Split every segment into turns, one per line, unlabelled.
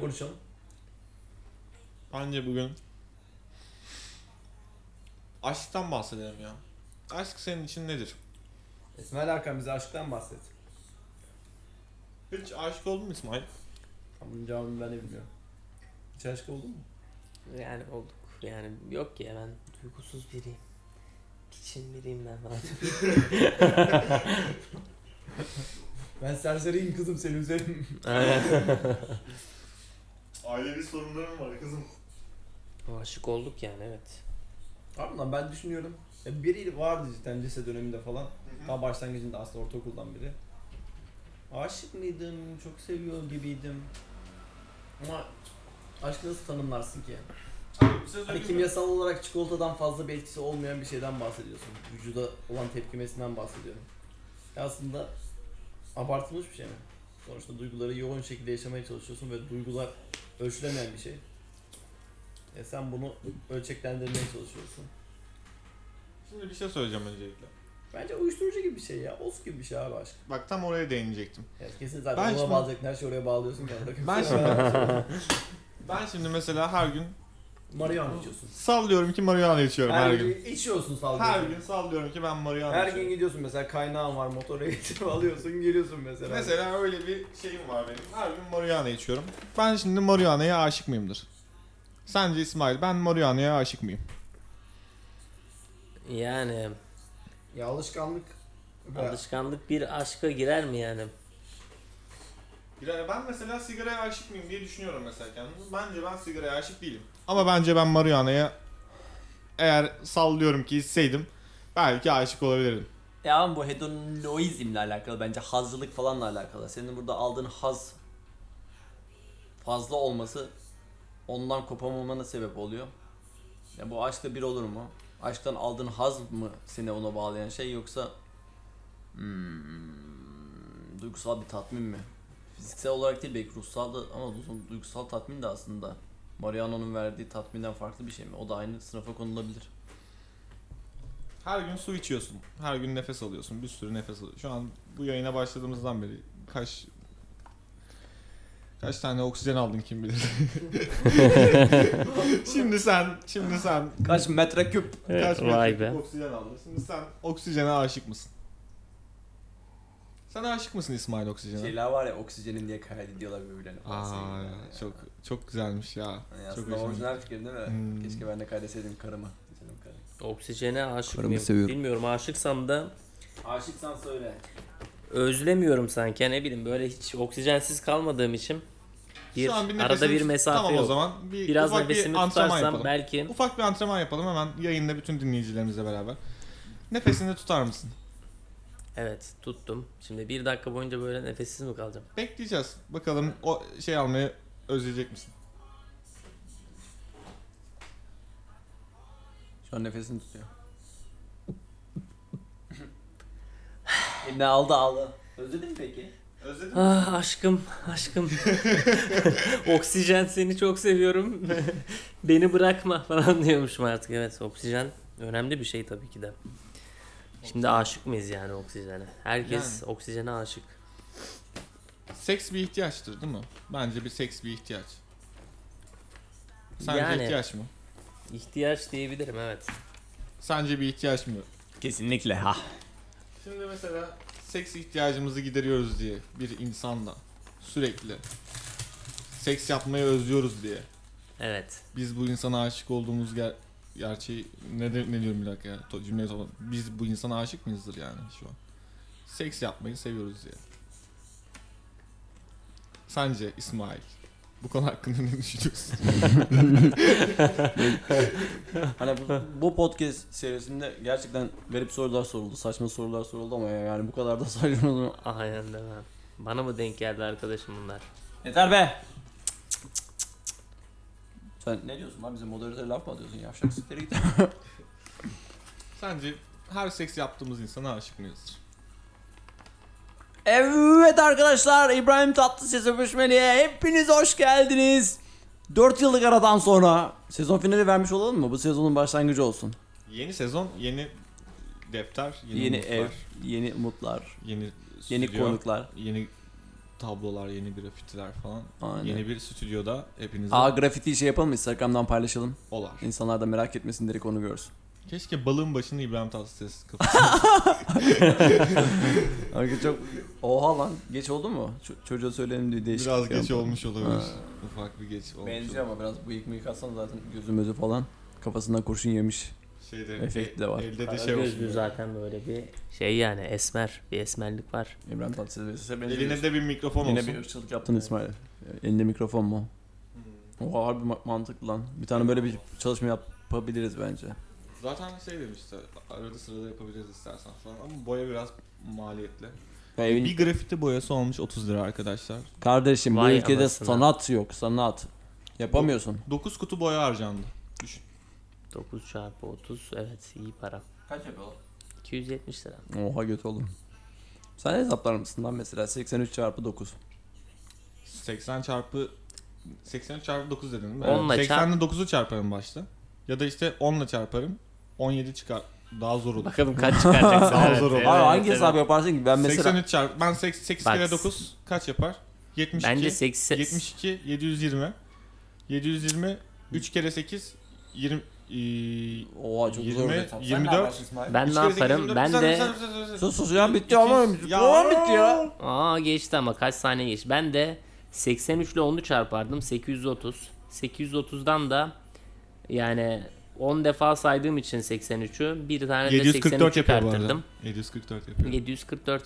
konuşalım?
Bence bugün aşktan bahsedelim ya. Aşk senin için nedir?
İsmail Hakan bize aşktan bahset.
Hiç aşık oldun mu İsmail?
Ama Bunun cevabını ben de bilmiyorum. Hiç aşık oldun mu?
Yani olduk. Yani yok ya ben duygusuz biriyim. Piçin biriyim ben falan.
Ben serseriyim kızım senin üzerin.
Ailevi sorunlarım var kızım.
Aşık olduk yani evet.
Harbi lan ben düşünüyorum. Ya biri vardı cidden lise döneminde falan. Daha başlangıcında aslında ortaokuldan biri. Aşık mıydım, çok seviyor gibiydim. Ama aşkı nasıl tanımlarsın ki? Hani kimyasal olarak çikolatadan fazla bir etkisi olmayan bir şeyden bahsediyorsun. Vücuda olan tepkimesinden bahsediyorum. Ya aslında abartılmış bir şey mi? Sonuçta duyguları yoğun şekilde yaşamaya çalışıyorsun ve duygular ölçülemeyen bir şey. E sen bunu ölçeklendirmeye çalışıyorsun.
Şimdi bir şey söyleyeceğim öncelikle.
Bence uyuşturucu gibi bir şey ya. Os gibi bir şey abi aşk.
Bak tam oraya değinecektim.
Ya kesin zaten
Ben
ona
şimdi-
bağlayacaksın her şeyi oraya bağlıyorsun kendine.
Ben şimdi- Ben şimdi mesela her gün
Marihuana içiyorsun.
sallıyorum ki marihuana içiyorum her,
Her
gün.
gün içiyorsun saldırıyorsun.
Her gün sallıyorum ki ben marihuana
Her gün
içiyorum.
gidiyorsun mesela kaynağın var motora getirip alıyorsun geliyorsun mesela.
Mesela öyle bir şeyim var benim. Her gün marihuana içiyorum. Ben şimdi marihuana'ya aşık mıyımdır? Sence İsmail ben marihuana'ya aşık mıyım?
Yani
Ya alışkanlık. Ya,
alışkanlık bir aşka girer mi yani?
Yani ben mesela sigaraya aşık mıyım diye düşünüyorum mesela kendimi. Bence ben sigaraya aşık değilim. Ama bence ben marihuana'ya eğer sallıyorum ki hisseydim belki aşık olabilirdim.
Ya ama bu hedonizmle alakalı bence hazlılık falanla alakalı. Senin burada aldığın haz fazla olması ondan kopamamana sebep oluyor. Ya bu aşkla bir olur mu? Aşktan aldığın haz mı seni ona bağlayan şey yoksa hmm, duygusal bir tatmin mi? Fiziksel olarak değil belki ruhsal da ama du- duygusal tatmin de aslında Mariano'nun verdiği tatminden farklı bir şey mi? O da aynı sınıfa konulabilir.
Her gün su içiyorsun. Her gün nefes alıyorsun. Bir sürü nefes alıyorsun. Şu an bu yayına başladığımızdan beri kaç kaç tane oksijen aldın kim bilir. şimdi sen şimdi sen
Kaç metreküp
Kaç
vay be.
metreküp oksijen aldın? Şimdi sen oksijene aşık mısın? Sen aşık mısın İsmail oksijene?
Şeyler var ya oksijenin diye kaydı diyorlar birbirlerine. falan.
Aa,
Sevgililer ya.
çok çok güzelmiş ya.
Yani
çok
aslında
hoşuma gitti.
orijinal fikir değil mi?
Hmm.
Keşke ben de kaydeseydim karımı. Canım karım.
Oksijene aşık
Karımı
mıyım?
seviyorum.
Bilmiyorum aşıksam da
Aşıksan söyle.
özlemiyorum sanki. Ne bileyim böyle hiç oksijensiz kalmadığım için bir,
Şu an bir
arada bir
nefesimiz-
mesafe
tamam
yok.
o zaman. Bir,
Biraz
ufak bir
nefesimi
antrenman
tutarsam
yapalım.
belki
Ufak bir antrenman yapalım hemen yayında bütün dinleyicilerimizle beraber. Nefesini tutar mısın?
evet tuttum. Şimdi bir dakika boyunca böyle nefessiz mi kalacağım?
Bekleyeceğiz. Bakalım o şey almayı özleyecek misin?
Şu an nefesini tutuyor. ne aldı aldı. Özledin mi peki?
Özledim.
Ah aşkım, aşkım. oksijen seni çok seviyorum. Beni bırakma falan diyormuşum artık. Evet oksijen önemli bir şey tabii ki de. Şimdi aşık mıyız yani oksijene? Herkes oksijene aşık.
Seks bir ihtiyaçtır değil mi? Bence bir seks bir ihtiyaç. Sence
Yani.
ihtiyaç mı?
İhtiyaç diyebilirim evet.
Sence bir ihtiyaç mı?
Kesinlikle ha.
Şimdi mesela seks ihtiyacımızı gideriyoruz diye bir insanla sürekli seks yapmayı özlüyoruz diye
Evet.
biz bu insana aşık olduğumuz ger gerçeği ne, de- ne diyorum bir dakika ya to- cümleyi topla- biz bu insana aşık mıyızdır yani şu an seks yapmayı seviyoruz diye sence İsmail bu konu hakkında ne düşünüyorsun?
Hani bu, bu podcast serisinde gerçekten garip sorular soruldu. Saçma sorular soruldu ama yani bu kadar da saçma olur mu?
Ah, Aynen de ben. Bana mı denk geldi arkadaşım bunlar?
Yeter be! Sen ne diyorsun lan bize moderatöre laf mı atıyorsun? Yavşak siktir git.
Sence her seks yaptığımız insana aşık mıyızdır?
Evet arkadaşlar İbrahim Tatlıses Öpüşmeli'ye hepiniz hoş geldiniz. 4 yıllık aradan sonra sezon finali vermiş olalım mı? Bu sezonun başlangıcı olsun.
Yeni sezon, yeni defter, yeni,
Yeni,
umutlar,
ev, yeni umutlar,
yeni
yeni
stüdyo,
konuklar.
yeni tablolar, yeni grafitiler falan.
Aynen.
Yeni bir stüdyoda hepinize
Aa grafiti şey yapalım mı? Instagram'dan paylaşalım.
olar.
İnsanlar da merak etmesin direkt onu görsün.
Keşke balığın başını İbrahim Tatlıses kafasına.
Arkadaşlar çok... Oha lan geç oldu mu? Ço- çocuğa söyleyelim diye değişik.
Biraz geç olmuş olabilir.
Ha.
Ufak bir geç olmuş
Benziyor
olabilir.
ama biraz bıyık mıyık atsan zaten gözüm özü falan. Kafasından kurşun yemiş.
Şeyde,
Efekti de var.
Elde de
Kara
şey olsun.
gözlü zaten böyle bir şey yani esmer bir esmerlik var.
İbrahim Tatlıses'e benziyor.
Eline de bir mikrofon
Yine
olsun.
bir ırkçılık yaptın İsmail. Elinde mikrofon mu?
Hmm.
Oha harbi ma- mantıklı lan. Bir tane böyle bir çalışma yapabiliriz bence.
Zaten şey demişti, arada sırada yapabiliriz istersen falan ama boya biraz maliyetli.
Ya evin-
Bir grafiti boyası olmuş 30 lira arkadaşlar.
Kardeşim bu
Vay
ülkede
anasını.
sanat yok sanat. Yapamıyorsun.
9 kutu boya harcandı. Düşün.
9 çarpı 30 evet iyi para.
Kaç yapıyor?
270 lira.
Oha göt oğlum. Sen hesaplar mısın lan mesela 83 çarpı 9.
80 çarpı 80 çarpı 9 dedin değil mi?
Onla
80 ile 9'u çarparım başta. Ya da işte 10 ile çarparım. 17 çıkar. Daha zor olur.
Bakalım kaç çıkaracaksın.
Daha
evet,
zor olur.
evet,
Abi hangi
evet.
hesap yaparsın ki? Ben mesela
83 çarp. Ben 8, 8
Bak,
kere 9 kaç yapar? 72.
Bence 80
72 720. 720 3 kere 8 20 eee,
Oha çok zor
20,
bir hesap. Sen
24.
ne yaparsın İsmail?
Ben
üç
ne
kere sekiz,
yaparım?
yirmi dört.
Ben
Sen-
de
sen- sen- sen- sen-
Sus sus ya bitti ama bitti
Ya.
ya. bitti ya.
Aa geçti ama kaç saniye geç. Ben de 83 ile 10'u çarpardım. 830. 830'dan da yani 10 defa saydığım için 83'ü bir tane de
744
83
yapıyor bu arada.
çıkarttırdım.
744 yapıyor.
744.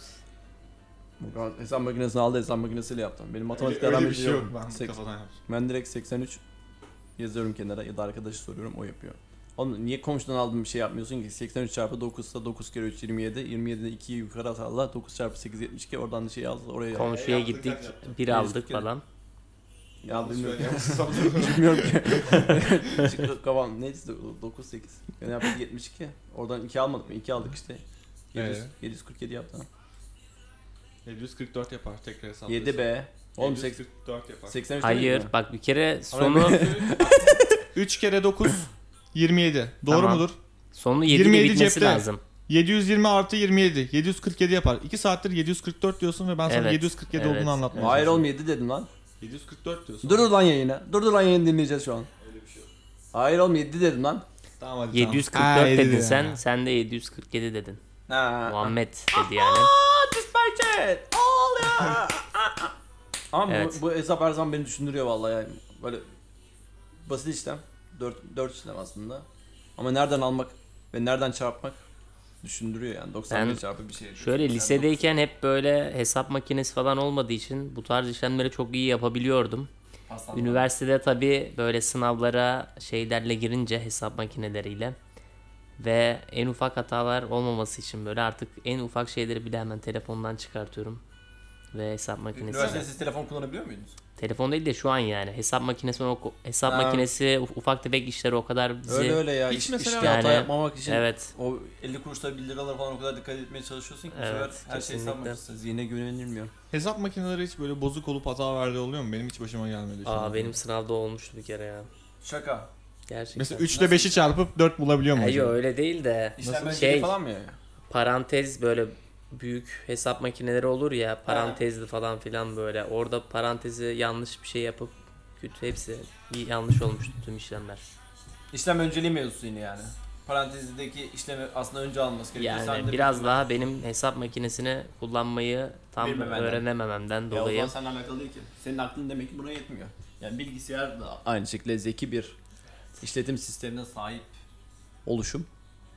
Bu kadar Hesap makinesini aldı hesap makinesiyle yaptım. Benim matematikle
Öyle
aram
bir
hiç
şey yok. Ben
Seks-
kafadan yaptım.
Ben direkt 83 yazıyorum kenara ya da arkadaşı soruyorum o yapıyor. Oğlum niye komşudan aldığın bir şey yapmıyorsun ki? 83 çarpı 9 ise 9 kere 3 27. 27'den 2'yi yukarı atarlar. 9 çarpı 8 72. Oradan da şey yaz oraya yaz.
Komşuya
yaptın,
gittik.
sen yaptın.
Bir aldık
kere.
falan.
Ya bilmiyorum.
Söyleyemezsin.
bilmiyorum ki. Çıktı kafam. Neydi 9 8. Ben yaptım 72. Oradan 2 almadık mı? 2 aldık işte. 700,
Ee?
747 yaptım.
744 yapar tekrar hesaplasın.
7 be. Oğlum 80
744 yapar.
83
Hayır
değil mi?
bak bir kere
Ama
sonu
3 kere 9 27. Doğru
Tamam.
mudur?
sonu 7 ile
27
bitmesi
cepte.
lazım.
720 artı 27. 747 yapar. 2 saattir 744 diyorsun ve ben sana
Evet,
747
evet.
olduğunu anlatmaya
Hayır
çalışıyorum.
oğlum 7 dedim lan.
744 diyorsun.
Dur lan yayını. Dur lan yayını dinleyeceğiz şu an. Hayır oğlum 7 dedim lan.
Tamam hadi tamam.
744
Ha, yedi
dedin
diyor.
sen. Sen de 747 dedin.
Ha.
Muhammed dedi yani.
Dispatchet! All ya! Ama
Evet.
bu, bu hesap her zaman beni düşündürüyor vallahi yani. Böyle basit işlem. 4, 4 işlem aslında. Ama nereden almak ve nereden çarpmak düşündürüyor yani. 91
Ben
çarpı bir şey.
Şöyle
Yani
lisedeyken hep böyle hesap makinesi falan olmadığı için bu tarz işlemleri çok iyi yapabiliyordum.
dokuz- pastan var.
Üniversitede tabii böyle sınavlara şeylerle girince hesap makineleriyle ve en ufak hatalar olmaması için böyle artık en ufak şeyleri bile hemen telefondan çıkartıyorum ve hesap
Üniversitede
makinesi.
siz telefon kullanabiliyor muydunuz?
Telefon değil de şu an yani hesap makinesi o- hesap
Ha.
makinesi uf- ufak tefek işleri o kadar bizi
Öyle öyle ya.
Hiç
iş-
mesela-
işte hata
Yani-
yapmamak için
evet
o 50 kuruşlar 1 liralar falan o kadar dikkat etmeye çalışıyorsun ki bu
Evet,
sefer her şey hesap
kesinlikle.
makinesi. Zihine güvenilmiyor.
Hesap makineleri hiç böyle bozuk olup hata verdiği oluyor mu? Benim hiç başıma gelmedi. şu an.
Aa, benim sınavda olmuştu bir kere ya.
Şaka.
Gerçekten.
Mesela 3 ile 5'i çarpıp 4 bulabiliyor mu?
Ay,
acaba?
yok, öyle değil de
İşlem
Nasıl-
şey... falan mı ya?
parantez böyle büyük hesap makineleri olur ya parantezli falan filan böyle orada parantezi yanlış bir şey yapıp kötü hepsi y- yanlış olmuştu tüm işlemler.
İşlem önceliği mevzusu yine yani. Parantezdeki işlemi aslında önce alması gerekiyor. Sen de
Yani biraz daha benim hesap makinesini kullanmayı tam
Bilmemenden.
öğrenemememden
Ya o
dolayı.
zaman seninle alakalı değil ki. Senin aklın demek ki buna yetmiyor. Yani bilgisayar da aynı şekilde zeki bir işletim sistemine sahip oluşum.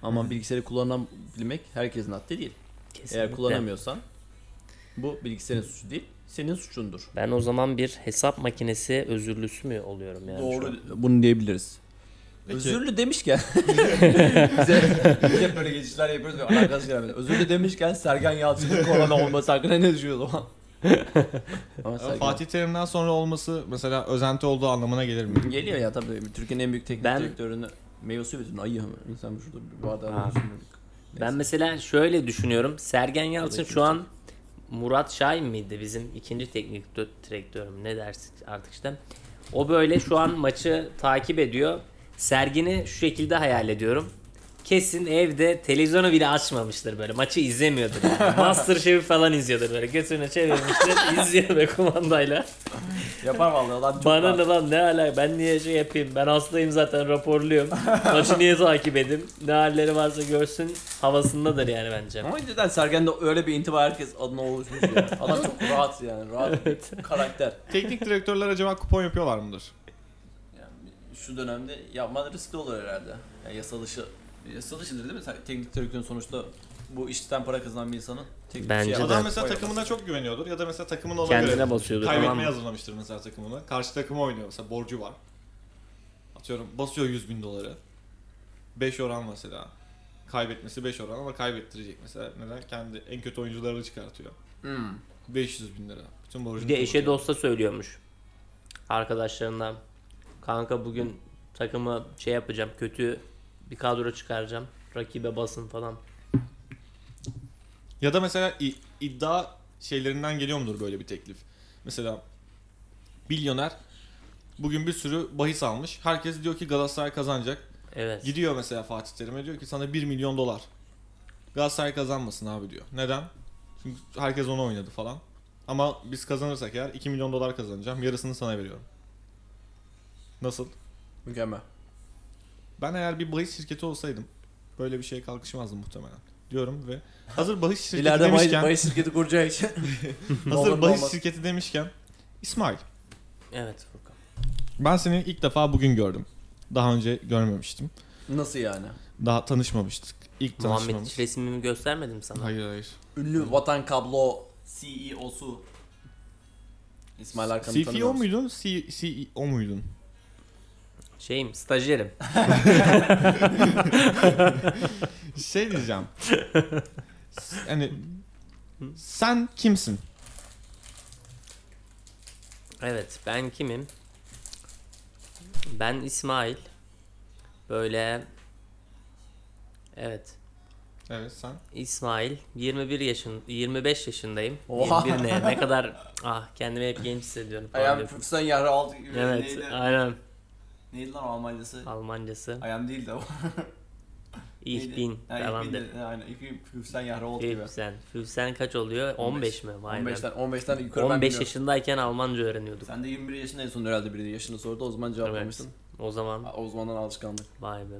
Ama bilgisayarı kullanabilmek herkesin haddı değil.
Kesinlikle.
Eğer kullanamıyorsan bu bilgisayarın suçu değil, senin suçundur.
Ben o zaman bir hesap makinesi özürlüsü mü oluyorum yani? şu an?
Doğru bunu diyebiliriz.
Peki.
Özürlü demişken bize, bize hep böyle geçişler yapıyoruz ve alakası gelmedi. Özürlü demişken Sergen Yalçın'ın korona olması hakkında ne düşünüyorsun o zaman? Ama
Ama
Sergen-
e, Fatih Terim'den sonra olması mesela özenti olduğu anlamına gelir mi?
Geliyor ya tabii Türkiye'nin en büyük teknik
Ben-
direktörünü meyvesi bütün ayı mı? İnsan şurada bir
Ha.
bardağı düşünürdük.
Ben mesela şöyle düşünüyorum. Sergen Yalçın şu an Murat Şahin miydi bizim ikinci teknik dö- direktörüm ne dersin artık işte. O böyle şu an maçı takip ediyor. Sergen'i şu şekilde hayal ediyorum. kesin evde televizyonu bile açmamıştır böyle. Maçı izlemiyordur. Yani. Masterchef falan izliyordur böyle. Götünü çevirmiştir. izliyor be kumandayla.
Yapar vallahi adam çok
Bana
rahat.
ne lan ne alaka ben niye şey yapayım ben hastayım zaten raporluyum maçı niye takip edeyim ne halleri varsa görsün havasındadır yani bence.
Ama cidden Sergen'de öyle bir intiba herkes adına oluşmuş ya. Adam çok rahat yani. Rahat bir karakter.
Teknik direktörler acaba kupon yapıyorlar mıdır?
Yani şu dönemde yapman riskli olur herhalde. Yani yasal dışı yasal dışıdır değil mi? Sen- Teknik direktörün sonuçta bu işten para kazanan bir insanın teknik
Bence
şey
de.
Adam
yapamaz.
mesela takımına çok güveniyordur ya da mesela takımın ona göre
Kendine basıyordur
kaybetmeye
tamam mı?
hazırlamıştır mesela takımını. Karşı takıma oynuyor mesela borcu var. Atıyorum basıyor 100 bin doları. 5 oran mesela. Kaybetmesi 5 oran ama kaybettirecek mesela. Neden? Kendi en kötü oyuncularını çıkartıyor.
Hmm.
500 bin lira. Bütün borcunu
Bir de eşe
kapatıyor.
dosta söylüyormuş arkadaşlarından kanka bugün takımı şey yapacağım kötü bir kadro çıkaracağım rakibe basın falan.
Ya da mesela i- iddia şeylerinden geliyor mudur böyle bir teklif? Mesela milyoner bugün bir sürü bahis almış. Herkes diyor ki Galatasaray kazanacak.
Evet.
Gidiyor mesela Fatih Terim'e diyor ki sana 1 milyon dolar. Galatasaray kazanmasın abi diyor. Neden? Çünkü herkes onu oynadı falan. Ama biz kazanırsak eğer 2 milyon dolar kazanacağım. Yarısını sana veriyorum. Nasıl?
Mükemmel.
Ben eğer bir bahis şirketi olsaydım böyle bir şeye kalkışmazdım muhtemelen. Diyorum ve hazır bahis şirketi
İleride bahis,
demişken
bahis şirketi kuracağı için.
hazır
Olur,
bahis
olmaz.
şirketi demişken İsmail
Evet Furkan.
ben seni ilk defa bugün gördüm. Daha önce görmemiştim.
Nasıl yani?
Daha tanışmamıştık. İlk
Muhammed hiç
tanışmamız.
resmimi göstermedim sana.
Hayır hayır.
Ünlü Vatan Kablo E CEO'su. İsmail Arkan'ı tanıyor
CFO
musun?
muydun? C- CEO muydun?
Şeyim stajyerim.
Şey diyeceğim. yani sen kimsin?
Evet, ben kimim? Ben İsmail. Böyle Evet,
Evet sen.
İsmail. 21 yaşın 25 yaşındayım.
Oha.
21 ne? Ne kadar ah kendimi hep genç hissediyorum.
I am 50 Jahre alt gibi.
Evet,
Neydi,
aynen.
neydi lan o Almancası?
Almancası.
I am değil de o.
Ich
Neydi?
bin
Ha, ich
falan
bin
de.
de- Aynen. Ich bin 50 Jahre alt gibi.
Füsen. Füsen kaç oluyor? 15 mi? Vay be.
15'ten 15'ten yukarı
15
ben bilmiyorum.
yaşındayken Almanca öğreniyorduk.
Sen de 21 yaşındaydın son herhalde biri yaşını sordu o zaman cevaplamışsın.
O zaman
O zamandan alışkanlık.
vay be.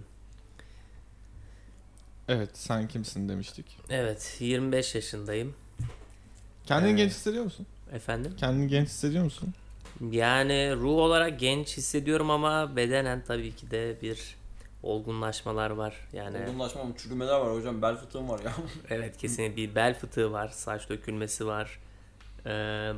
Evet sen kimsin demiştik.
Evet, 25 yaşındayım.
Kendini
Evet.
genç hissediyor musun?
Efendim?
Kendini genç hissediyor musun?
Yani ruh olarak genç hissediyorum ama bedenen tabii ki de bir olgunlaşmalar var. Yani
Olgunlaşma ama çürümeler var hocam bel fıtığım var ya.
evet kesin bir bel fıtığı var, saç dökülmesi var, ee,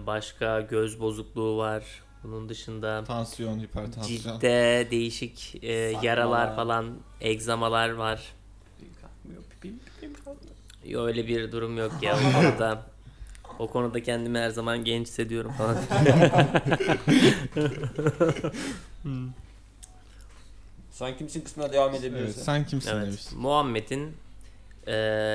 başka göz bozukluğu var. Bunun dışında
Tansiyon, hipertansiyon.
ciltte değişik e,
Sarkmalar.
yaralar falan, egzamalar var. Yo, Öyle bir durum yok ya o konuda. O konuda kendimi her zaman genç hissediyorum falan.
Sen kimsin kısmına devam edebilirsin.
Evet sen kimsin
Evet.
demiştik.
Muhammed'in e,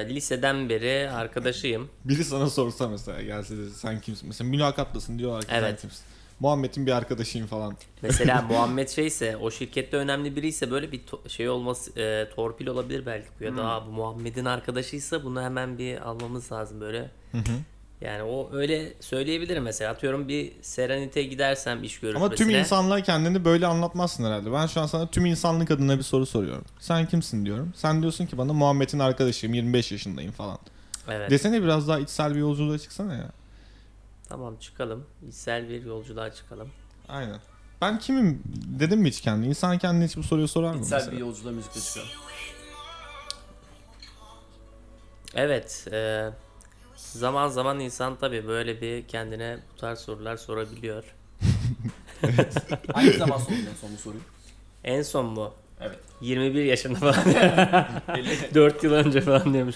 liseden beri arkadaşıyım.
Biri sana sorsa mesela gelse de sen kimsin? Mesela mülakatlasın diyorlar ki sen
Evet.
kimsin? Muhammed'in bir arkadaşıyım falan.
Mesela Muhammed şeyse o şirkette önemli biriyse böyle bir to- şey olması e, torpil olabilir belki bu
Hmm.
ya da "Aa, bu Muhammed'in arkadaşıysa bunu hemen bir almamız lazım böyle.
Hı hı.
Yani o öyle söyleyebilirim mesela atıyorum bir Serenite gidersem iş görüşmesine.
Ama tüm insanlığa kendini böyle anlatmazsın herhalde. Ben şu an sana tüm insanlık adına bir soru soruyorum. Sen kimsin diyorum. Sen diyorsun ki bana Muhammed'in arkadaşıyım 25 yaşındayım falan.
Evet
Desene biraz daha içsel bir yolculuğa çıksana ya.
tamam çıkalım. İçsel bir yolculuğa çıkalım.
Aynen. Ben kimim dedim mi hiç kendine? İnsan kendine hiç bu soruyu sorar mı
İçsel
mesela?
bir yolculuğa müzikle çıkar.
Evet e, zaman zaman insan tabii böyle bir kendine bu tarz sorular sorabiliyor.
Hangi zaman sordun en son bu soruyu?
En son mu?
Evet.
21 yaşında falan.
Belli.
4 yıl önce falan diyormuş.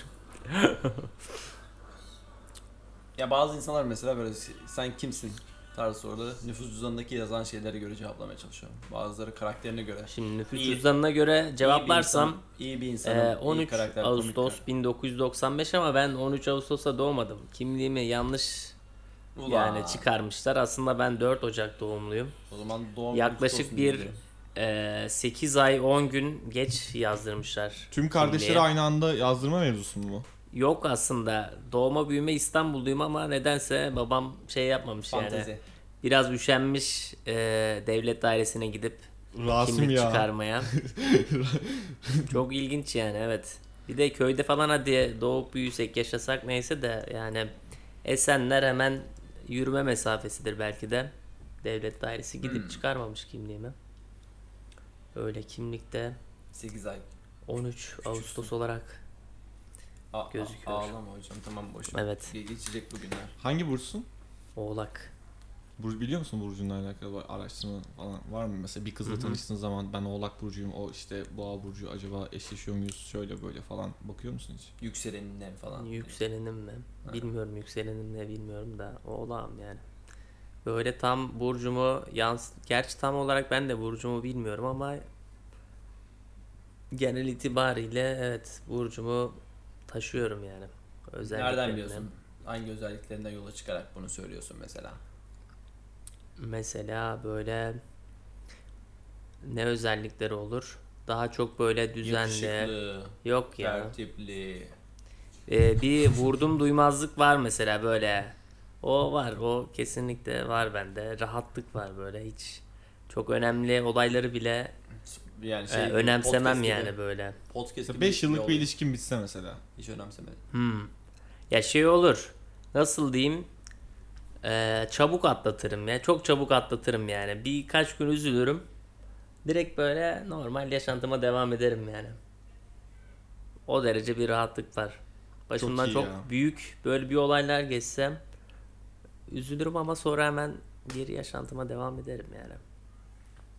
ya bazı insanlar mesela böyle sen kimsin tarzı soruları nüfus cüzdanındaki yazan şeylere göre cevaplamaya çalışıyor. Bazıları karakterine göre.
Şimdi nüfus
İyi-
cüzdanına göre cevaplarsam
iyi bir
e,
insan, iyi bir insanım, iyi
13
karakter, komik
Ağustos 1995 ama ben 13 Ağustos'ta doğmadım. Kimliğimi yanlış
karakter. Ulan.
yani çıkarmışlar. Aslında ben 4 Ocak doğumluyum.
O zaman doğum
Yaklaşık
kutlu olsun
bir-
diyelim.
e, 8 ay 10 gün geç yazdırmışlar.
Tüm kardeşleri
Kimliğe.
aynı anda yazdırma mevzusu mu? bu?
Yok aslında doğma büyüme İstanbulluyum ama nedense babam şey yapmamış yani.
Fantezi.
Biraz üşenmiş e, devlet dairesine gidip
Rasim
kimlik
ya.
çıkarmaya. Çok ilginç yani evet. Bir de köyde falan hadi doğup büyüsek yaşasak neyse de yani Esenler hemen yürüme mesafesidir belki de. Devlet dairesi gidip çıkarmamış kimliğimi. Öyle kimlikte
8 ay.
13 Ağustos olarak
A-
Gözüküyor.
A- ağlama hocam tamam boş ver.
evet
Ge- Geçecek bu günler.
Hangi burçsun?
Oğlak.
Burcu biliyor musun burcunla alakalı bir araştırma falan var mı? Mesela bir
Hı
kızla
hı.
tanıştığın zaman ben Oğlak burcuyum, o işte Boğa burcu acaba eşleşiyor muyuz? Şöyle böyle falan bakıyor musun hiç?
Yükselenine falan.
Yükselenim mi?
Ha.
Bilmiyorum yükselenim ne bilmiyorum da oğlağım yani. Böyle tam burcumu yans gerçi tam olarak ben de burcumu bilmiyorum ama genel itibariyle evet burcumu taşıyorum yani. Özellikle
Nereden biliyorsun? Hangi özelliklerinden yola çıkarak bunu söylüyorsun mesela?
Mesela böyle ne özellikleri olur? Daha çok böyle düzenli.
Yakışıklı,
Yok ya.
tertipli.
Ee, bir vurdum duymazlık var mesela böyle. O var, o kesinlikle var bende. Rahatlık var böyle hiç. Çok önemli olayları bile
Yani
e,
şey, gibi,
önemsemem
podcast
yani
Gibi,
böyle.
podcast gibi
5 yıllık bir
oluyor.
ilişkin bitse mesela.
Hiç önemsemedim.
Hmm. Ya şey olur. Nasıl diyeyim? Ee, çabuk atlatırım ya. Çok çabuk atlatırım yani. Birkaç gün üzülürüm. Direkt böyle normal yaşantıma devam ederim yani. O derece bir rahatlık var. Başımdan
iyi
çok,
ya.
büyük böyle bir olaylar geçsem üzülürüm ama sonra hemen geri yaşantıma devam ederim yani.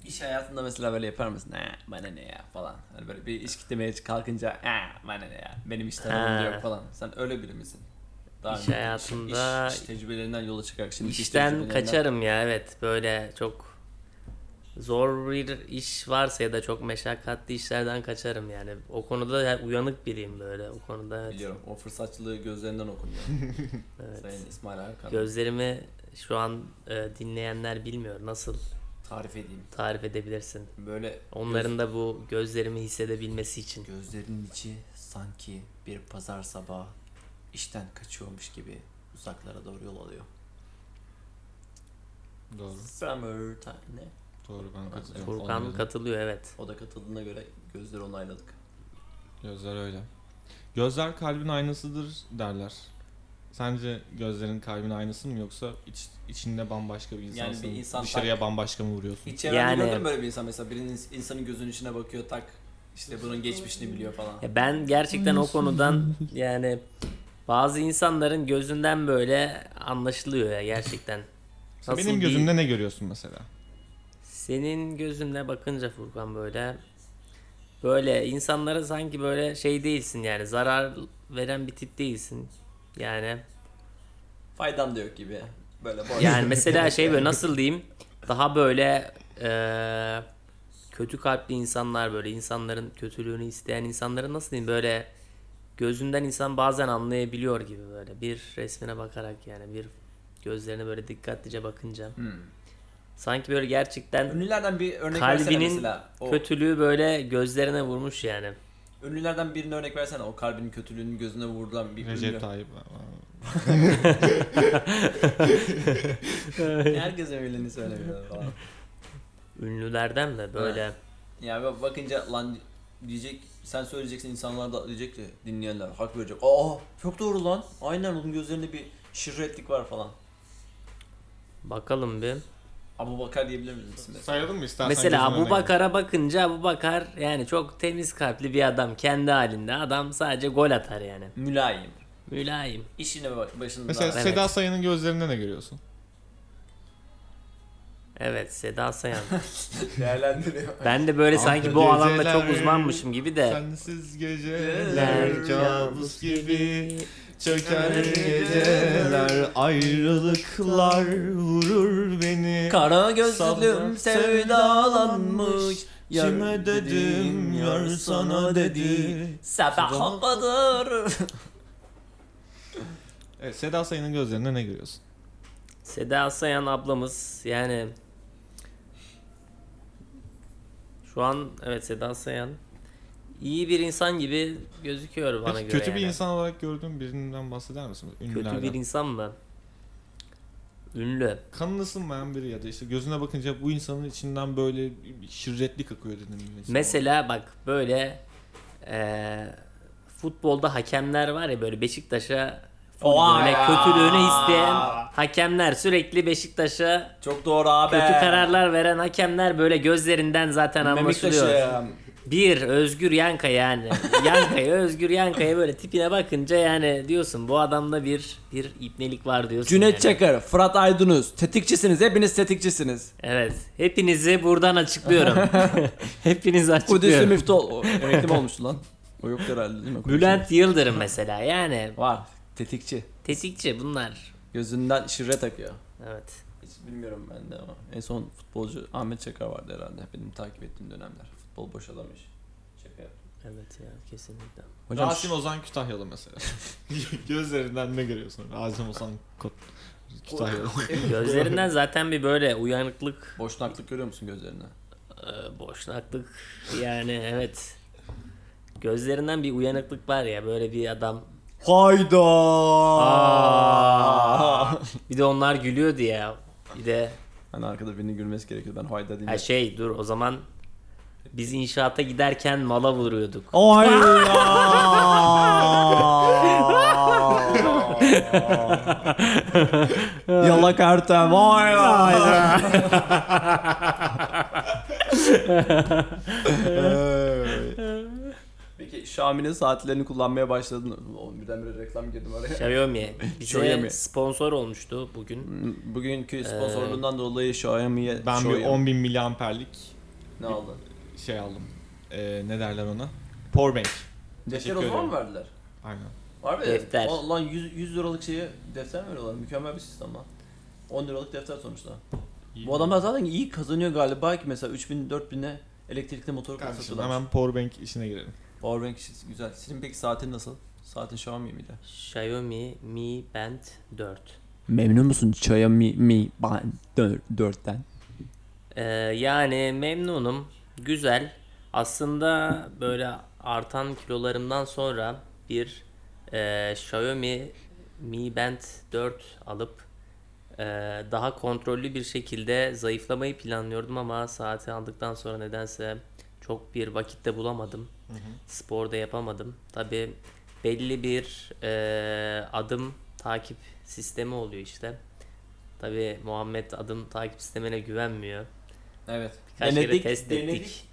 İş hayatında mesela böyle yapar mısın? Ha, bana ne ya falan. Hani böyle bir iş kitlemeye kalkınca ha, bana ne ya benim iş
Ha.
tanımım yok falan. Sen öyle biri misin?
İş
önce
hayatında-
iş, iş tecrübelerinden yola çıkarak şimdi iş
İşten
tecrübelerinden-
kaçarım ya evet böyle çok zor bir iş varsa ya da çok meşakkatli işlerden kaçarım yani. O konuda ya- uyanık biriyim böyle o konuda. evet.
Biliyorum o fırsatçılığı gözlerinden okunuyor.
Evet.
Sayın İsmail Hakan.
Gözlerimi şu an e, dinleyenler bilmiyor nasıl
Tarif edeyim.
tarif edebilirsin.
Böyle
Onların da bu gözlerimi hissedebilmesi için.
Gözlerinin içi sanki bir pazar sabahı işten kaçıyormuş gibi uzaklara doğru yol alıyor.
Doğru.
Summer time. Ne?
Doğru ben katılıyorum.
Furkan
Onların-
katılıyor evet.
O da katıldığına göre gözleri onayladık.
Gözler öyle. Gözler kalbin aynasıdır derler. Sence gözlerin kalbin aynası mı yoksa iç, içinde bambaşka bir
Yani
insansın?
bir insan
dışarıya bambaşka mı vuruyorsun?
Hiç çevrende
Yani-
gördün mü böyle bir insan mesela birinin insanın gözünün içine bakıyor tak işte bunun geçmişini biliyor falan.
Ya ben gerçekten o konudan yani bazı insanların gözünden böyle anlaşılıyor ya gerçekten.
Sen
Nasıl
benim
bir-
gözümde ne görüyorsun mesela?
Senin gözünle bakınca Furkan böyle böyle insanlara sanki böyle şey değilsin yani zarar veren bir tip değilsin. Yani
Faydam da yok gibi. Böyle boş.
yani mesela şey böyle nasıl diyeyim daha böyle eee, kötü kalpli insanlar böyle insanların kötülüğünü isteyen insanları nasıl diyeyim böyle gözünden insan bazen anlayabiliyor gibi böyle bir resmine bakarak yani bir gözlerine böyle dikkatlice bakınca
Hmm.
sanki böyle gerçekten
Ünlülerden bir örnek versene
Kalbinin
mesela. O
Kötülüğü böyle gözlerine vurmuş yani.
Ünlülerden birine örnek versene o kalbinin kötülüğünün gözüne vurulan bir
Recep
ünlü.
Tayyip.
Herkes öyleni söylemiyor falan.
Ünlülerden de böyle.
Yani bakınca lan diyecek sen söyleyeceksin insanlar da diyecek ki dinleyenler hak verecek. Aa çok doğru lan. Aynen onun gözlerinde bir şirretlik var falan.
Bakalım bir.
Abu Bakar diyebilir misin? mesela?
Sayalım mı istersen?
Mesela
gözüne ne
Abu Bakar'a bakınca Abu Bakar yani çok temiz kalpli bir adam. Kendi halinde adam sadece gol atar yani.
Mülayim.
Mülayim.
İşine bak- başında.
Mesela
Evet.
Seda Sayan'ın gözlerinde ne görüyorsun?
Evet Seda Sayan.
değerlendiriyor.
Ben de böyle sanki bu alanda çok
Geceler-
uzmanmışım gibi de.
Sensiz
Geceler
geceler
kabus
kabus gibi çöker geceler ayrılıklar vurur beni.
Kara
Sabah
gözlüm sevdalanmış. Yar
Kime dedim yar sana dedi.
Sabaha kadar.
Evet, Seda Sayın'ın gözlerinde ne görüyorsun?
Seda Sayan ablamız yani Şu an evet Sedat Sayan iyi bir insan gibi gözüküyor bana
Peki,
göre.
kötü bir
yani.
insan olarak gördüğün birinden bahseder misiniz? Ünlülerden.
Kötü bir insan mı? Ünlü.
Kanını ısınmayan biri ya da işte gözüne bakınca bu insanın içinden böyle şirretlik akıyor dedim.
Mesela bak böyle eee, futbolda hakemler var ya böyle Beşiktaş'a
Oha
böyle
ya.
kötülüğünü isteyen hakemler sürekli Beşiktaş'a
Çok doğru abi.
kötü kararlar veren hakemler böyle gözlerinden zaten anlaşılıyor.
Memektaş'ım.
Bir Özgür Yanka yani. Yanka'ya Özgür Yanka'ya böyle tipine bakınca yani diyorsun bu adamda bir bir ipnelik var diyorsun.
Cüneyt
yani.
Çakır, Fırat Aydınuz. Tetikçisiniz. Hepiniz tetikçisiniz.
Evet. Hepinizi buradan açıklıyorum. Hepinizi
Kudüs'lü
açıklıyorum.
müftü ol. o Emekli mi olmuştu lan? O yok herhalde değil mi?
Bülent Yıldırım mesela yani
Var. Tetikçi.
tetikçi bunlar.
Gözünden şirre takıyor.
Evet.
Hiç bilmiyorum ben de ama. En son futbolcu Ahmet Çakar vardı herhalde. Benim takip ettiğim dönemler. Futbol boşalamış. Şaka yaptım.
Evet ya kesinlikle.
Hocam
Rasim Ozan Kütahyalı mesela. Gözlerinden ne görüyorsun? Rasim Ozan Kot- Kütahyalı.
Gözlerinden zaten bir böyle uyanıklık,
boşnaklık görüyor musun gözlerine?
e, boşnaklık yani evet. Gözlerinden bir uyanıklık var ya böyle bir adam.
Hayda!
Aa! bir de onlar gülüyordu ya. Bir de
Hani arkada birinin gülmesi gerekiyor. Ben hayda
ha
diyeyim.
şey dur o zaman biz inşaata giderken mala vuruyorduk.
Yalak Ertem. Hayda! Peki Xiaomi'nin saatlerini kullanmaya başladın. mı? Oğlum birdenbire reklam girdim
Şey-
araya.
Xiaomi bize
Xiaomi. Hmm.
sponsor olmuştu bugün.
Bugünkü sponsorluğundan dolayı Xiaomi'ye
Ee, ben bir
Xiaomi-
10.000 miliamperlik
Ne oldu?
şey aldım. Ee, ne derler ona? Powerbank.
Defter
Teşekkür
o zaman
ederim.
mı verdiler?
Aynen.
Var mı?
Defter.
O- Lan 100, 100 liralık şeyi defter mi veriyorlar? Mükemmel bir sistem lan. 10 liralık defter sonuçta.
İyi.
Bu adamlar zaten iyi kazanıyor galiba ki mesela 3000 4000'e elektrikli motor
Kardeşim
kasatıyorlar.
hemen powerbank işine girelim.
Powerbank işi güzel. Senin peki saatin nasıl? Saatin Xiaomi miydi?
Xiaomi Mi Band 4.
Memnun musun Xiaomi Mi Band 4'ten?
Ee, yani memnunum. Güzel. Aslında böyle artan kilolarımdan sonra bir e, Xiaomi Mi Band 4 alıp e, daha kontrollü bir şekilde zayıflamayı planlıyordum ama saati aldıktan sonra nedense çok bir vakitte bulamadım. Spor da yapamadım. Tabi belli bir e, adım takip sistemi oluyor işte. Tabi Muhammed adım takip sistemine güvenmiyor.
Evet.
Birkaç kere test ettik.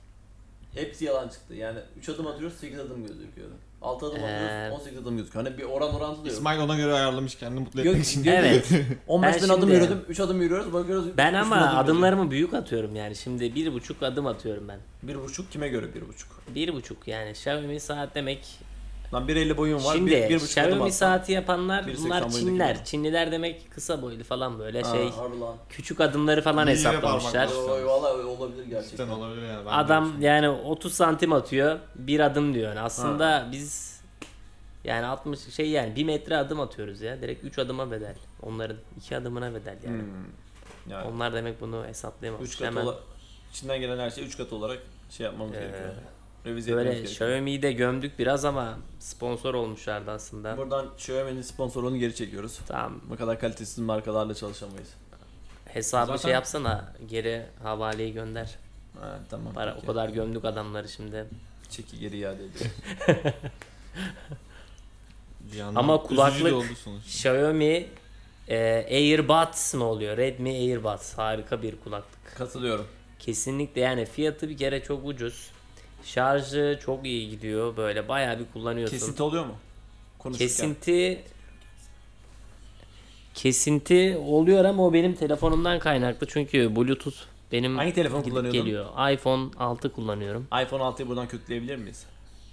Hepsi yalan çıktı. Yani 3 adım atıyoruz 8 adım gözüküyor. 6 adım
Ee,
atıyoruz 18 adım gözüküyor. Hani bir oran orantı diyor.
İsmail ona göre ayarlamış kendini mutlu
Gök-
etmek için.
gök-
Evet.
15 bin
Ben
adım
şimdi-
yürüdüm, 3 adım yürüyoruz, bakıyoruz.
Ben
üç
ama
bin adım
adımlarımı büyük atıyorum yani. Şimdi bir buçuk adım atıyorum ben.
Bir buçuk kime göre bir buçuk?
Bir buçuk yani. Xiaomi saat demek.
Lan 1.50 boyun var.
Şimdi
bir, bir buçuk adım
Xiaomi
atsan.
saati yapanlar
1.80
bunlar
boyundaki
Çinliler.
gibi.
Çinliler demek kısa boylu falan böyle
Ha,
şey.
harbi lan.
Küçük adımları falan
Yine
hesaplamışlar.
parmaklar.
Oy, Valla öyle olabilir
Cidden
gerçekten.
olabilir yani. ben de
Adam
şey.
düşünüyorum.
yani 30 santim atıyor. Bir adım diyor. Yani aslında biz yani 60 şey yani 1 metre adım atıyoruz ya. Direkt 3 adıma bedel. Onların 2 adımına bedel yani.
Hmm. Yani
Onlar demek bunu hesaplayamamış.
3 kat
Hemen
ola- içinden gelen her şey 3 kat olarak şey yapmamız
Ee,
gerekiyor. Revize etmemiz
Böyle
gerekiyor.
Xiaomi'yi de gömdük biraz ama sponsor olmuşlardı aslında.
Buradan Xiaomi'nin sponsorluğunu geri çekiyoruz.
Tamam
Bu kadar kalitesiz markalarla çalışamayız.
hesabı
Zaten-
şey yapsana geri havaleyi gönder.
Ha, tamam.
Para
peki.
o kadar gömdük adamları şimdi.
Çeki geri iade ediyor.
Bir yandan
Ama
üzücü de
kulaklık-
oldu sonuç.
Xiaomi e, AirBuds mı oluyor? Redmi AirBuds harika bir kulaklık.
Katılıyorum.
Kesinlikle yani fiyatı bir kere çok ucuz. Şarjı çok iyi gidiyor böyle bayağı bir kullanıyorsun.
Kesinti oluyor mu? Konuşurken.
Kesinti kesinti oluyor ama o benim telefonumdan kaynaklı çünkü Bluetooth benim
Hangi telefon
gidip
kullanıyordun?
geliyor. iPhone 6 kullanıyorum.
iPhone 6'yı buradan kötüleyebilir miyiz?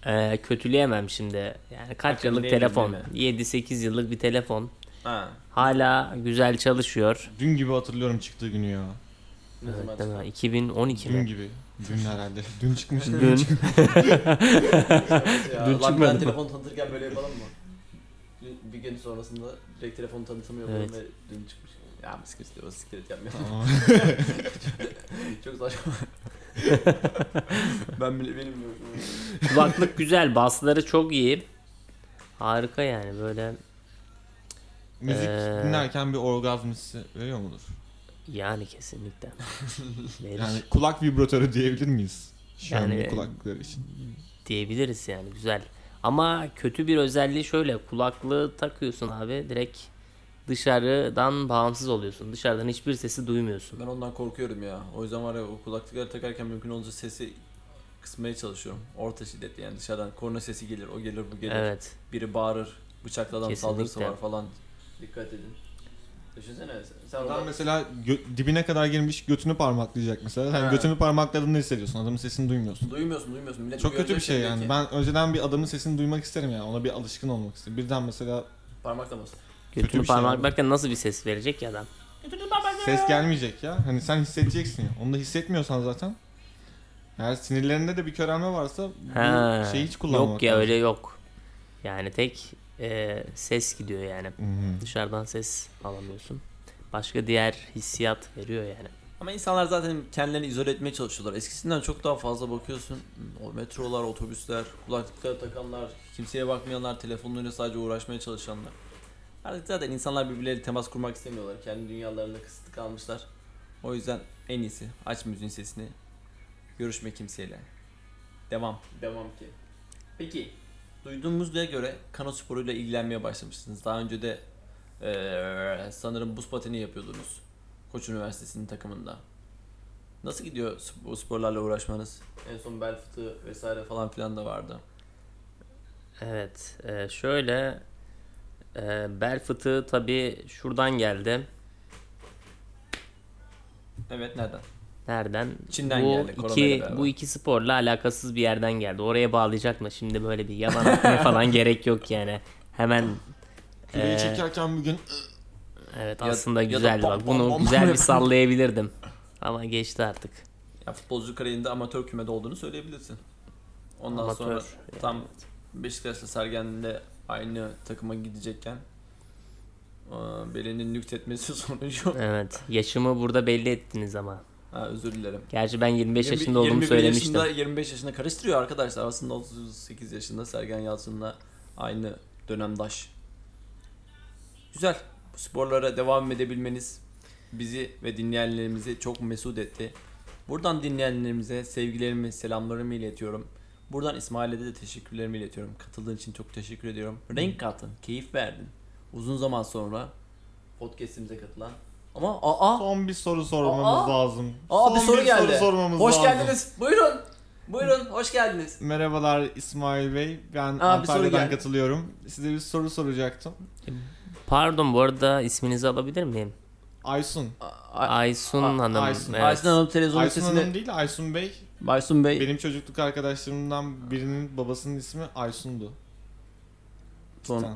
Ee, kötüleyemem şimdi. Yani kaç
Ha,
yıllık
kötüleyemem
telefon?
değil
7-8 yıllık bir telefon.
Ha.
Hala güzel çalışıyor.
Dün gibi hatırlıyorum çıktığı günü ya.
Ne zaman
Evet, değil mi? 2012
Dün
mi?
gibi. Dün herhalde. Dün çıkmış.
Dün.
Ya,
Dün
lan
çıkmadı mı?
ben telefon tanıtırken böyle yapalım mı? Dün- Bir gün sonrasında direkt telefon tanıtımı yapalım
Evet.
ve dün çıkmış. Ya misket diyor, siklet yapmıyor.
Tamam.
Çok saçma. ben bile benim yok.
Kulaklık güzel, basları çok iyi. Harika yani böyle
Müzik
Ee.
dinlerken bir orgazm hissi veriyor mudur?
yani kesinlikle. Verir
Yani kulak vibratörü diyebilir miyiz? Şu an
Yani-
kulaklıkları için.
diyebiliriz yani güzel. Ama kötü bir özelliği şöyle kulaklığı takıyorsun abi direkt dışarıdan bağımsız oluyorsun. Dışarıdan hiçbir sesi duymuyorsun.
Ben ondan korkuyorum ya. O yüzden var ya o kulaklıkları takarken mümkün olunca sesi kısmaya çalışıyorum. Orta şiddetli yani dışarıdan korna sesi gelir, o gelir, bu gelir.
Evet.
Biri bağırır, bıçaklı adam
Kesinlikle.
saldırısı var falan. Dikkat edin. Düşünsene sen- sen
Adam
orada...
mesela gö- dibine kadar girmiş götünü parmaklayacak mesela. Sen
Ha.
götünü parmakladığını hissediyorsun. Adamın sesini duymuyorsun.
Duymuyorsun, duymuyorsun. Millet
Çok kötü bir
görecek
şey
diyor
yani.
ki,
Ben önceden bir adamın sesini duymak isterim yani. Ona bir alışkın olmak isterim. Birden mesela
Parmakla bas.
Kötü
Götünü
bir şey
parmak
abi.
bakın nasıl bir ses verecek ya adam.
ses gelmeyecek ya. Hani sen hissedeceksin ya. Onu da hissetmiyorsan zaten. Eğer sinirlerinde de bir körelme varsa
Ha.
bu şeyi hiç kullanmamak
Yok ya
lazım.
öyle yok. Yani tek e, ses gidiyor yani.
Hı hı.
Dışarıdan ses alamıyorsun. Başka diğer hissiyat veriyor yani.
Ama insanlar zaten kendilerini izole etmeye çalışıyorlar. Eskisinden çok daha fazla bakıyorsun. O metrolar, otobüsler, kulaklıkları takanlar, kimseye bakmayanlar, telefonlarıyla sadece uğraşmaya çalışanlar. Artık zaten insanlar birbirleriyle temas kurmak istemiyorlar. Kendi dünyalarında kısıtlı kalmışlar. O yüzden en iyisi aç müziğin sesini. Görüşme kimseyle. Devam. Devam ki. Peki. Duyduğumuzda göre kano sporuyla ilgilenmeye başlamışsınız. Daha önce de eee, sanırım buz pateni yapıyordunuz. Koç Üniversitesi'nin takımında. Nasıl gidiyor sp- bu sporlarla uğraşmanız? En son bel fıtığı vesaire falan filan da vardı.
Evet, e, şöyle e, bel fıtığı tabii şuradan geldi.
Evet nereden?
Nereden?
Çin'den
bu
geldi, koronayla
iki
beraber.
bu iki sporla alakasız bir yerden geldi. Oraya bağlayacak mı? Şimdi böyle bir yalan atmaya falan gerek yok yani. Hemen
Küreyi
Ee,
e,
çekerken bugün
evet
Ya-
aslında
ya da
güzeldi
bom
bak.
bom
Bunu
bom
güzel bir
yapın.
sallayabilirdim. Ama geçti artık.
Ya futbolcu kariyerinde amatör kümede olduğunu söyleyebilirsin. Ondan
Amatör,
sonra
yani.
tam Beşiktaş'la Sergen'le aynı takıma gidecekken eee, belinin nüksetmesi sonucu.
Evet. Yaşımı burada belli ettiniz ama.
ha, özür dilerim.
Gerçi ben 25
Yirmi-
yaşında olduğumu
21
söylemiştim.
Yaşında, 25 yaşında karıştırıyor arkadaşlar. Aslında 38 yaşında Sergen Yalçın'la aynı dönemdaş. Güzel. Bu sporlara devam edebilmeniz bizi ve dinleyenlerimizi çok mesut etti. Buradan dinleyenlerimize sevgilerimi, selamlarımı iletiyorum. Buradan İsmail'e de teşekkürlerimi iletiyorum. Katıldığın için çok teşekkür ediyorum. Renk kattın, keyif verdin. Uzun zaman sonra podcast'imize katılan. Ama aa,
son bir soru sormamız
Aa!
lazım.
Aa,
son
bir soru geldi.
soru sormamız
Hoş
lazım.
geldiniz. Buyurun. Buyurun hoş geldiniz.
Merhabalar İsmail Bey. Ben
bir soru
Antalya'dan
geldi.
katılıyorum. Size bir soru soracaktım.
Pardon bu arada isminizi alabilir miyim?
Aysun.
Aysun
A-
Hanım.
Aysun.
evet.
Aysun Hanım televizyon
Aysun Hanım
sesini...
değil Aysun Bey.
Aysun Bey.
Benim çocukluk arkadaşlarımdan birinin babasının ismi Aysun'du.
Son-
Sen.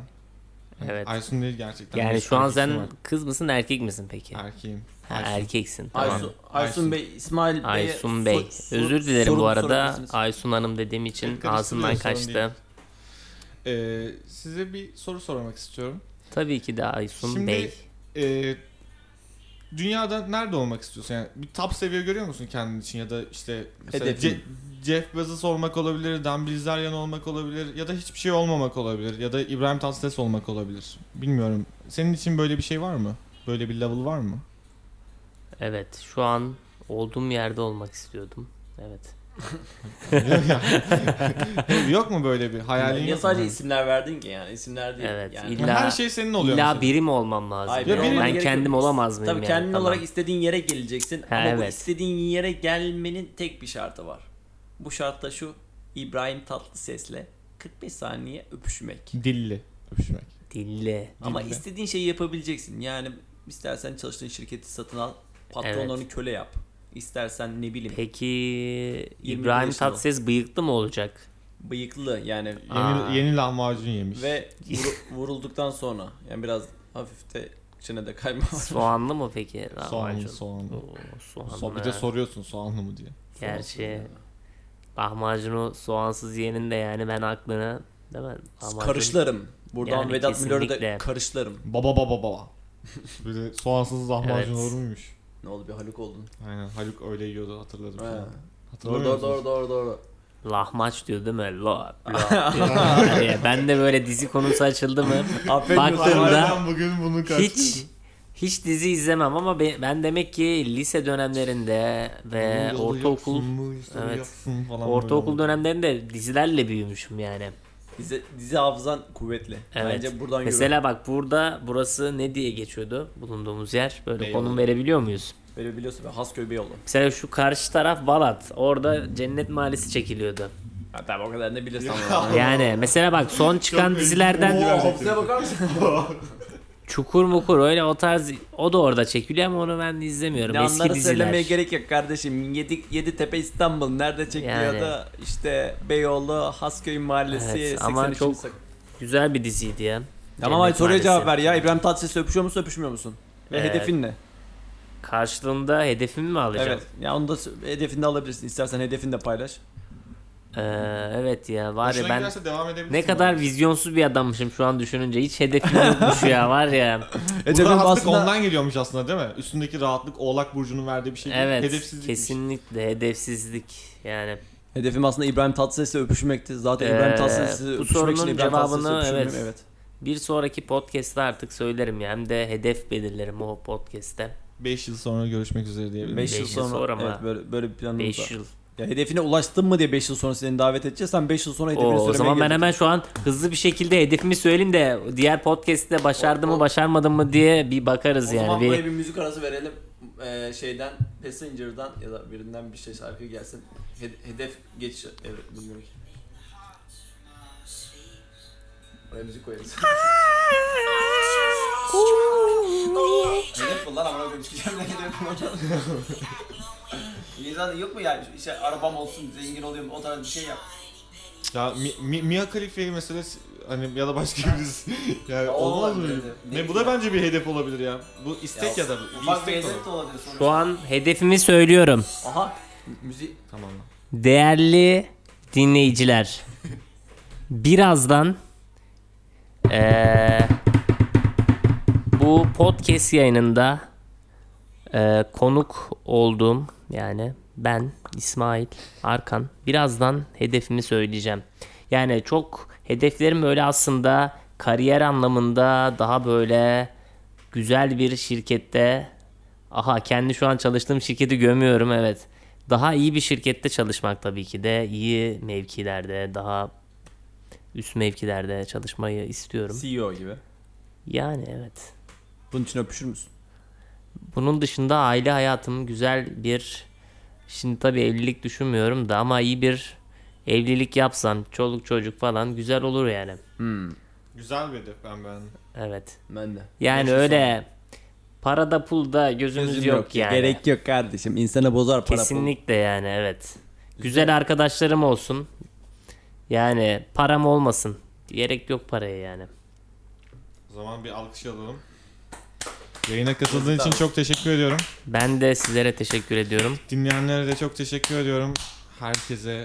Evet.
Aysun değil gerçekten.
Yani
Bir
şu an
erkek
sen
ismi var.
kız mısın erkek misin peki?
Erkeğim.
Ha,
Aysun.
erkeksin. Tamam.
Aysun,
Aysun,
Aysun, Bey, İsmail Bey'e
Bey.
sor- sor-
Özür dilerim
sorun
bu arada
sorabilirsiniz.
Aysun Hanım dediğim için
Beni karıştırıyor,
ağzımdan
sorun değil.
kaçtı.
Ee, size bir soru sormak istiyorum.
Tabii ki de Aysun
Şimdi-
Bey.
Ee, dünyada nerede olmak istiyorsun? Yani bir top seviye görüyor musun kendin için ya da işte mesela
Hedefin.
Ce- Jeff Bezos olmak olabilir, Dan Bilzerian olmak olabilir ya da hiçbir şey olmamak olabilir ya da İbrahim Tatlıses olmak olabilir. Bilmiyorum. Senin için böyle bir şey var mı? Böyle bir level var mı?
Evet şu an olduğum yerde olmak istiyordum. Evet.
yok mu böyle bir hayalin?
Niye
Yok
sadece
mu?
isimler verdin ki yani? İsimler değil.
Evet,
Yani.
illa-
Yani her şey senin oluyor.
İlla
mesela.
biri mi olmam lazım?
Hayır,
biri
ben
olman
gerekiyor.
kendim olamaz mıyım
Tabii
yani?
kendin
Tamam.
olarak istediğin yere geleceksin
Ha,
ama bu
evet.
istediğin yere gelmenin tek bir şartı var. Bu şart da şu İbrahim Tatlıses'le 45 saniye öpüşmek.
Dilli öpüşmek.
Dilli.
Ama
Dilde.
istediğin şeyi yapabileceksin. Yani istersen çalıştığın şirketi satın al, patronlarını köle yap. İstersen ne bileyim
Peki
yaşında
İbrahim
ol.
Tatlıses bıyıklı mı olacak?
bıyıklı yani
Yeni,
Aa.
yeni lahmacun yemiş.
ve vuru- vurulduktan sonra yani biraz hafif de içine de kayma var.
Soğanlı mı peki?
soğanlı
lahmacun? Oh,
soğanlı.
Oo, soğanlı.
So, bir de soruyorsun soğanlı mı diye.
Gerçi lahmacunu soğansız yiyenin de yani ben aklını değil mi? Lahmacun-
Karışlarım. Buradan
Yani
Vedat Milor'a da
kesinlikle.
karışlarım.
Baba baba baba. Böyle soğansız lahmacun
Evet.
olur muymuş?
Ne oldu bir Haluk oldun.
Aynen Haluk öyle yiyordu hatırladım.
Ha.
falan.
Doğru doğru doğru doğru doğru.
Lahmaç diyor değil mi? La, la diyor. Yani ben de böyle dizi konusu açıldı mı baktığımda
Harbiden bugün bunu kaçtım.
hiç hiç dizi izlemem ama be- ben demek ki lise dönemlerinde ve e, ortaokul Evet. ortaokul dönemlerinde dizilerle büyümüşüm yani.
Dizi, dizi hafızan kuvvetli.
Evet.
Bence buradan
Mesela bak burada burası ne diye geçiyordu bulunduğumuz yer? Böyle
Beyoğlu.
konum verebiliyor muyuz?
yürü. Böyle biliyorsun ben Hasköy Beyoğlu.
Mesela şu karşı taraf Balat. Orada Cennet Mahallesi çekiliyordu.
Ha, tabii o kadar ne bilirsen.
Yani mesela bak son çıkan
Çok iyi.
dizilerden
Oo.
Hafızaya bakar mısın?
Çukur Mukur öyle o tarz o da orada çekiliyor ama onu ben izlemiyorum.
ne
Eski
anları
diziler.
söylemeye gerek yok kardeşim. Yedi, Yeditepe İstanbul nerede çekiliyor
Yani.
da işte Beyoğlu, Hasköy Mahallesi,
Evet,
83.
ama çok-
sokak.
Güzel bir diziydi ya.
Tamam hadi
Cennet
soruya cevap
Mahallesi.
ver ya. İbrahim Tatlıses'le öpüşüyor musun öpüşmüyor musun? Ve
Ee,
hedefin ne?
Karşılığında hedefimi mi alacağım?
Evet. Ya onu da s- hedefini de alabilirsin. İstersen hedefini de paylaş.
Ee, evet ya var
Hoşuna
ya ben
giderse devam edebilirsin.
ne kadar vizyonsuz bir adammışım şu an düşününce. Hiç hedefim yokmuş ya var ya.
Bu
Hedefin
rahatlık
aslında-
E, ondan geliyormuş aslında değil mi? Üstündeki rahatlık Oğlak Burcu'nun verdiği bir şey değil.
Evet
Hedefsizlikmiş.
kesinlikle hedefsizlik yani.
Hedefim aslında İbrahim Tatlıses'le öpüşmekti. Zaten İbrahim
Ee,
Tatlıses'le
bu
öpüşmek
sorunun
için İbrahim Tatlıses'le
cevabını,
öpüşmüyorum,
evet.
evet.
Bir sonraki podcast'te artık söylerim ya. Hem de hedef belirlerim o podcast'te.
5 yıl sonra görüşmek üzere diyebilirim.
5 yıl
Beş yıl
sonra,
sonra mı?
evet, böyle, böyle bir planımız
5
var.
yıl.
Ya hedefine ulaştın mı diye 5 yıl sonra seni davet edeceğiz. Sen 5 yıl sonra hedefini
Oo,
söylemeye
o zaman ben
geleceksin.
hemen şu an hızlı bir şekilde hedefimi söyleyeyim de diğer podcast'te başardım mı başarmadım mı diye bir bakarız
O zaman
yani.
buraya
Bir,
bir müzik arası verelim. Ee, şeyden Passenger'dan ya da birinden bir şey şarkı gelsin. He- hedef geç evet bilmiyorum. ki. Buraya müzik koyarız. hedef mi lan amına koyayım çıkacağım ne hedef mi hocam? İnsan yok mu yani işte arabam olsun zengin olayım o tarz bir şey yap.
Ya Mi- Mi- Mia Khalifa'yı mesela s- hani ya da başka birisi. yani
Ya
olmaz
olmaz
mı?
bence.
Ne, bu da bence bir hedef olabilir ya. Bu istek ya, da bu. Bir
Ufak bir
istek de
hedef
olur.
de olabilir sonuçta.
şu an hedefimi söylüyorum.
Aha müzik
Tamam.
Değerli dinleyiciler. Birazdan eee, bu podcast yayınında eee, konuk olduğum yani ben İsmail Arkan birazdan hedefimi söyleyeceğim. Yani çok hedeflerim öyle aslında kariyer anlamında daha böyle güzel bir şirkette aha kendi şu an çalıştığım şirketi gömüyorum evet. Daha iyi bir şirkette çalışmak tabii ki de iyi mevkilerde daha üst mevkilerde çalışmayı istiyorum.
CEO gibi.
Yani evet.
Bunun için öpüşür müsün?
Bunun dışında aile hayatım güzel bir şimdi tabii evlilik düşünmüyorum da ama iyi bir evlilik yapsam çoluk çocuk falan güzel olur yani.
Güzel bir hedef ben beğendim.
Evet.
Ben de.
Yani öyle parada pulda gözümüz yok, yani.
Gerek yok kardeşim. İnsana bozar para
Kesinlikle yani evet. Güzel arkadaşlarım olsun. Yani param olmasın. Gerek yok paraya yani.
O zaman bir alkış alalım. Yayına katıldığın için çok teşekkür ediyorum.
Ben de sizlere teşekkür ediyorum.
Dinleyenlere de çok teşekkür ediyorum. Herkese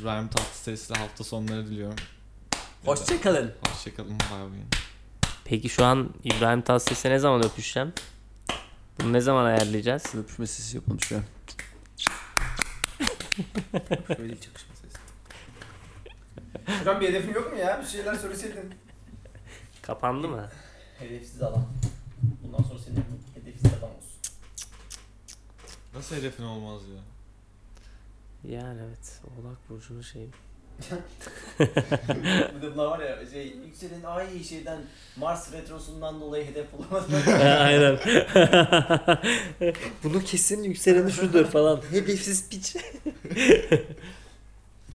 İbrahim Tatlıses'le hafta sonları diliyorum.
pul. Hoşçakalın.
Hoşçakalın. Bay bay.
Peki şu an İbrahim Tatlıses'e ne zaman öpüşeceğim? Bunu ne zaman ayarlayacağız?
Öpüşme sesi yapalım şu an. Böyle bir çakışma sesi.
Hocam bir hedefin yok mu ya? Bir şeyler söyleseydin.
Kapandı mı?
Hedefsiz adam. Bundan sonra senin hedefsiz adam olsun.
Nasıl hedefin olmaz ya?
Yani evet. Oğlak Burcu'nun şeyi.
Bir de bunlar var ya şey, yükselen ay şeyden Mars retrosundan dolayı hedef bulamadım.
Aynen. Bunu kesin yükseleni şudur falan. Hedefsiz piç.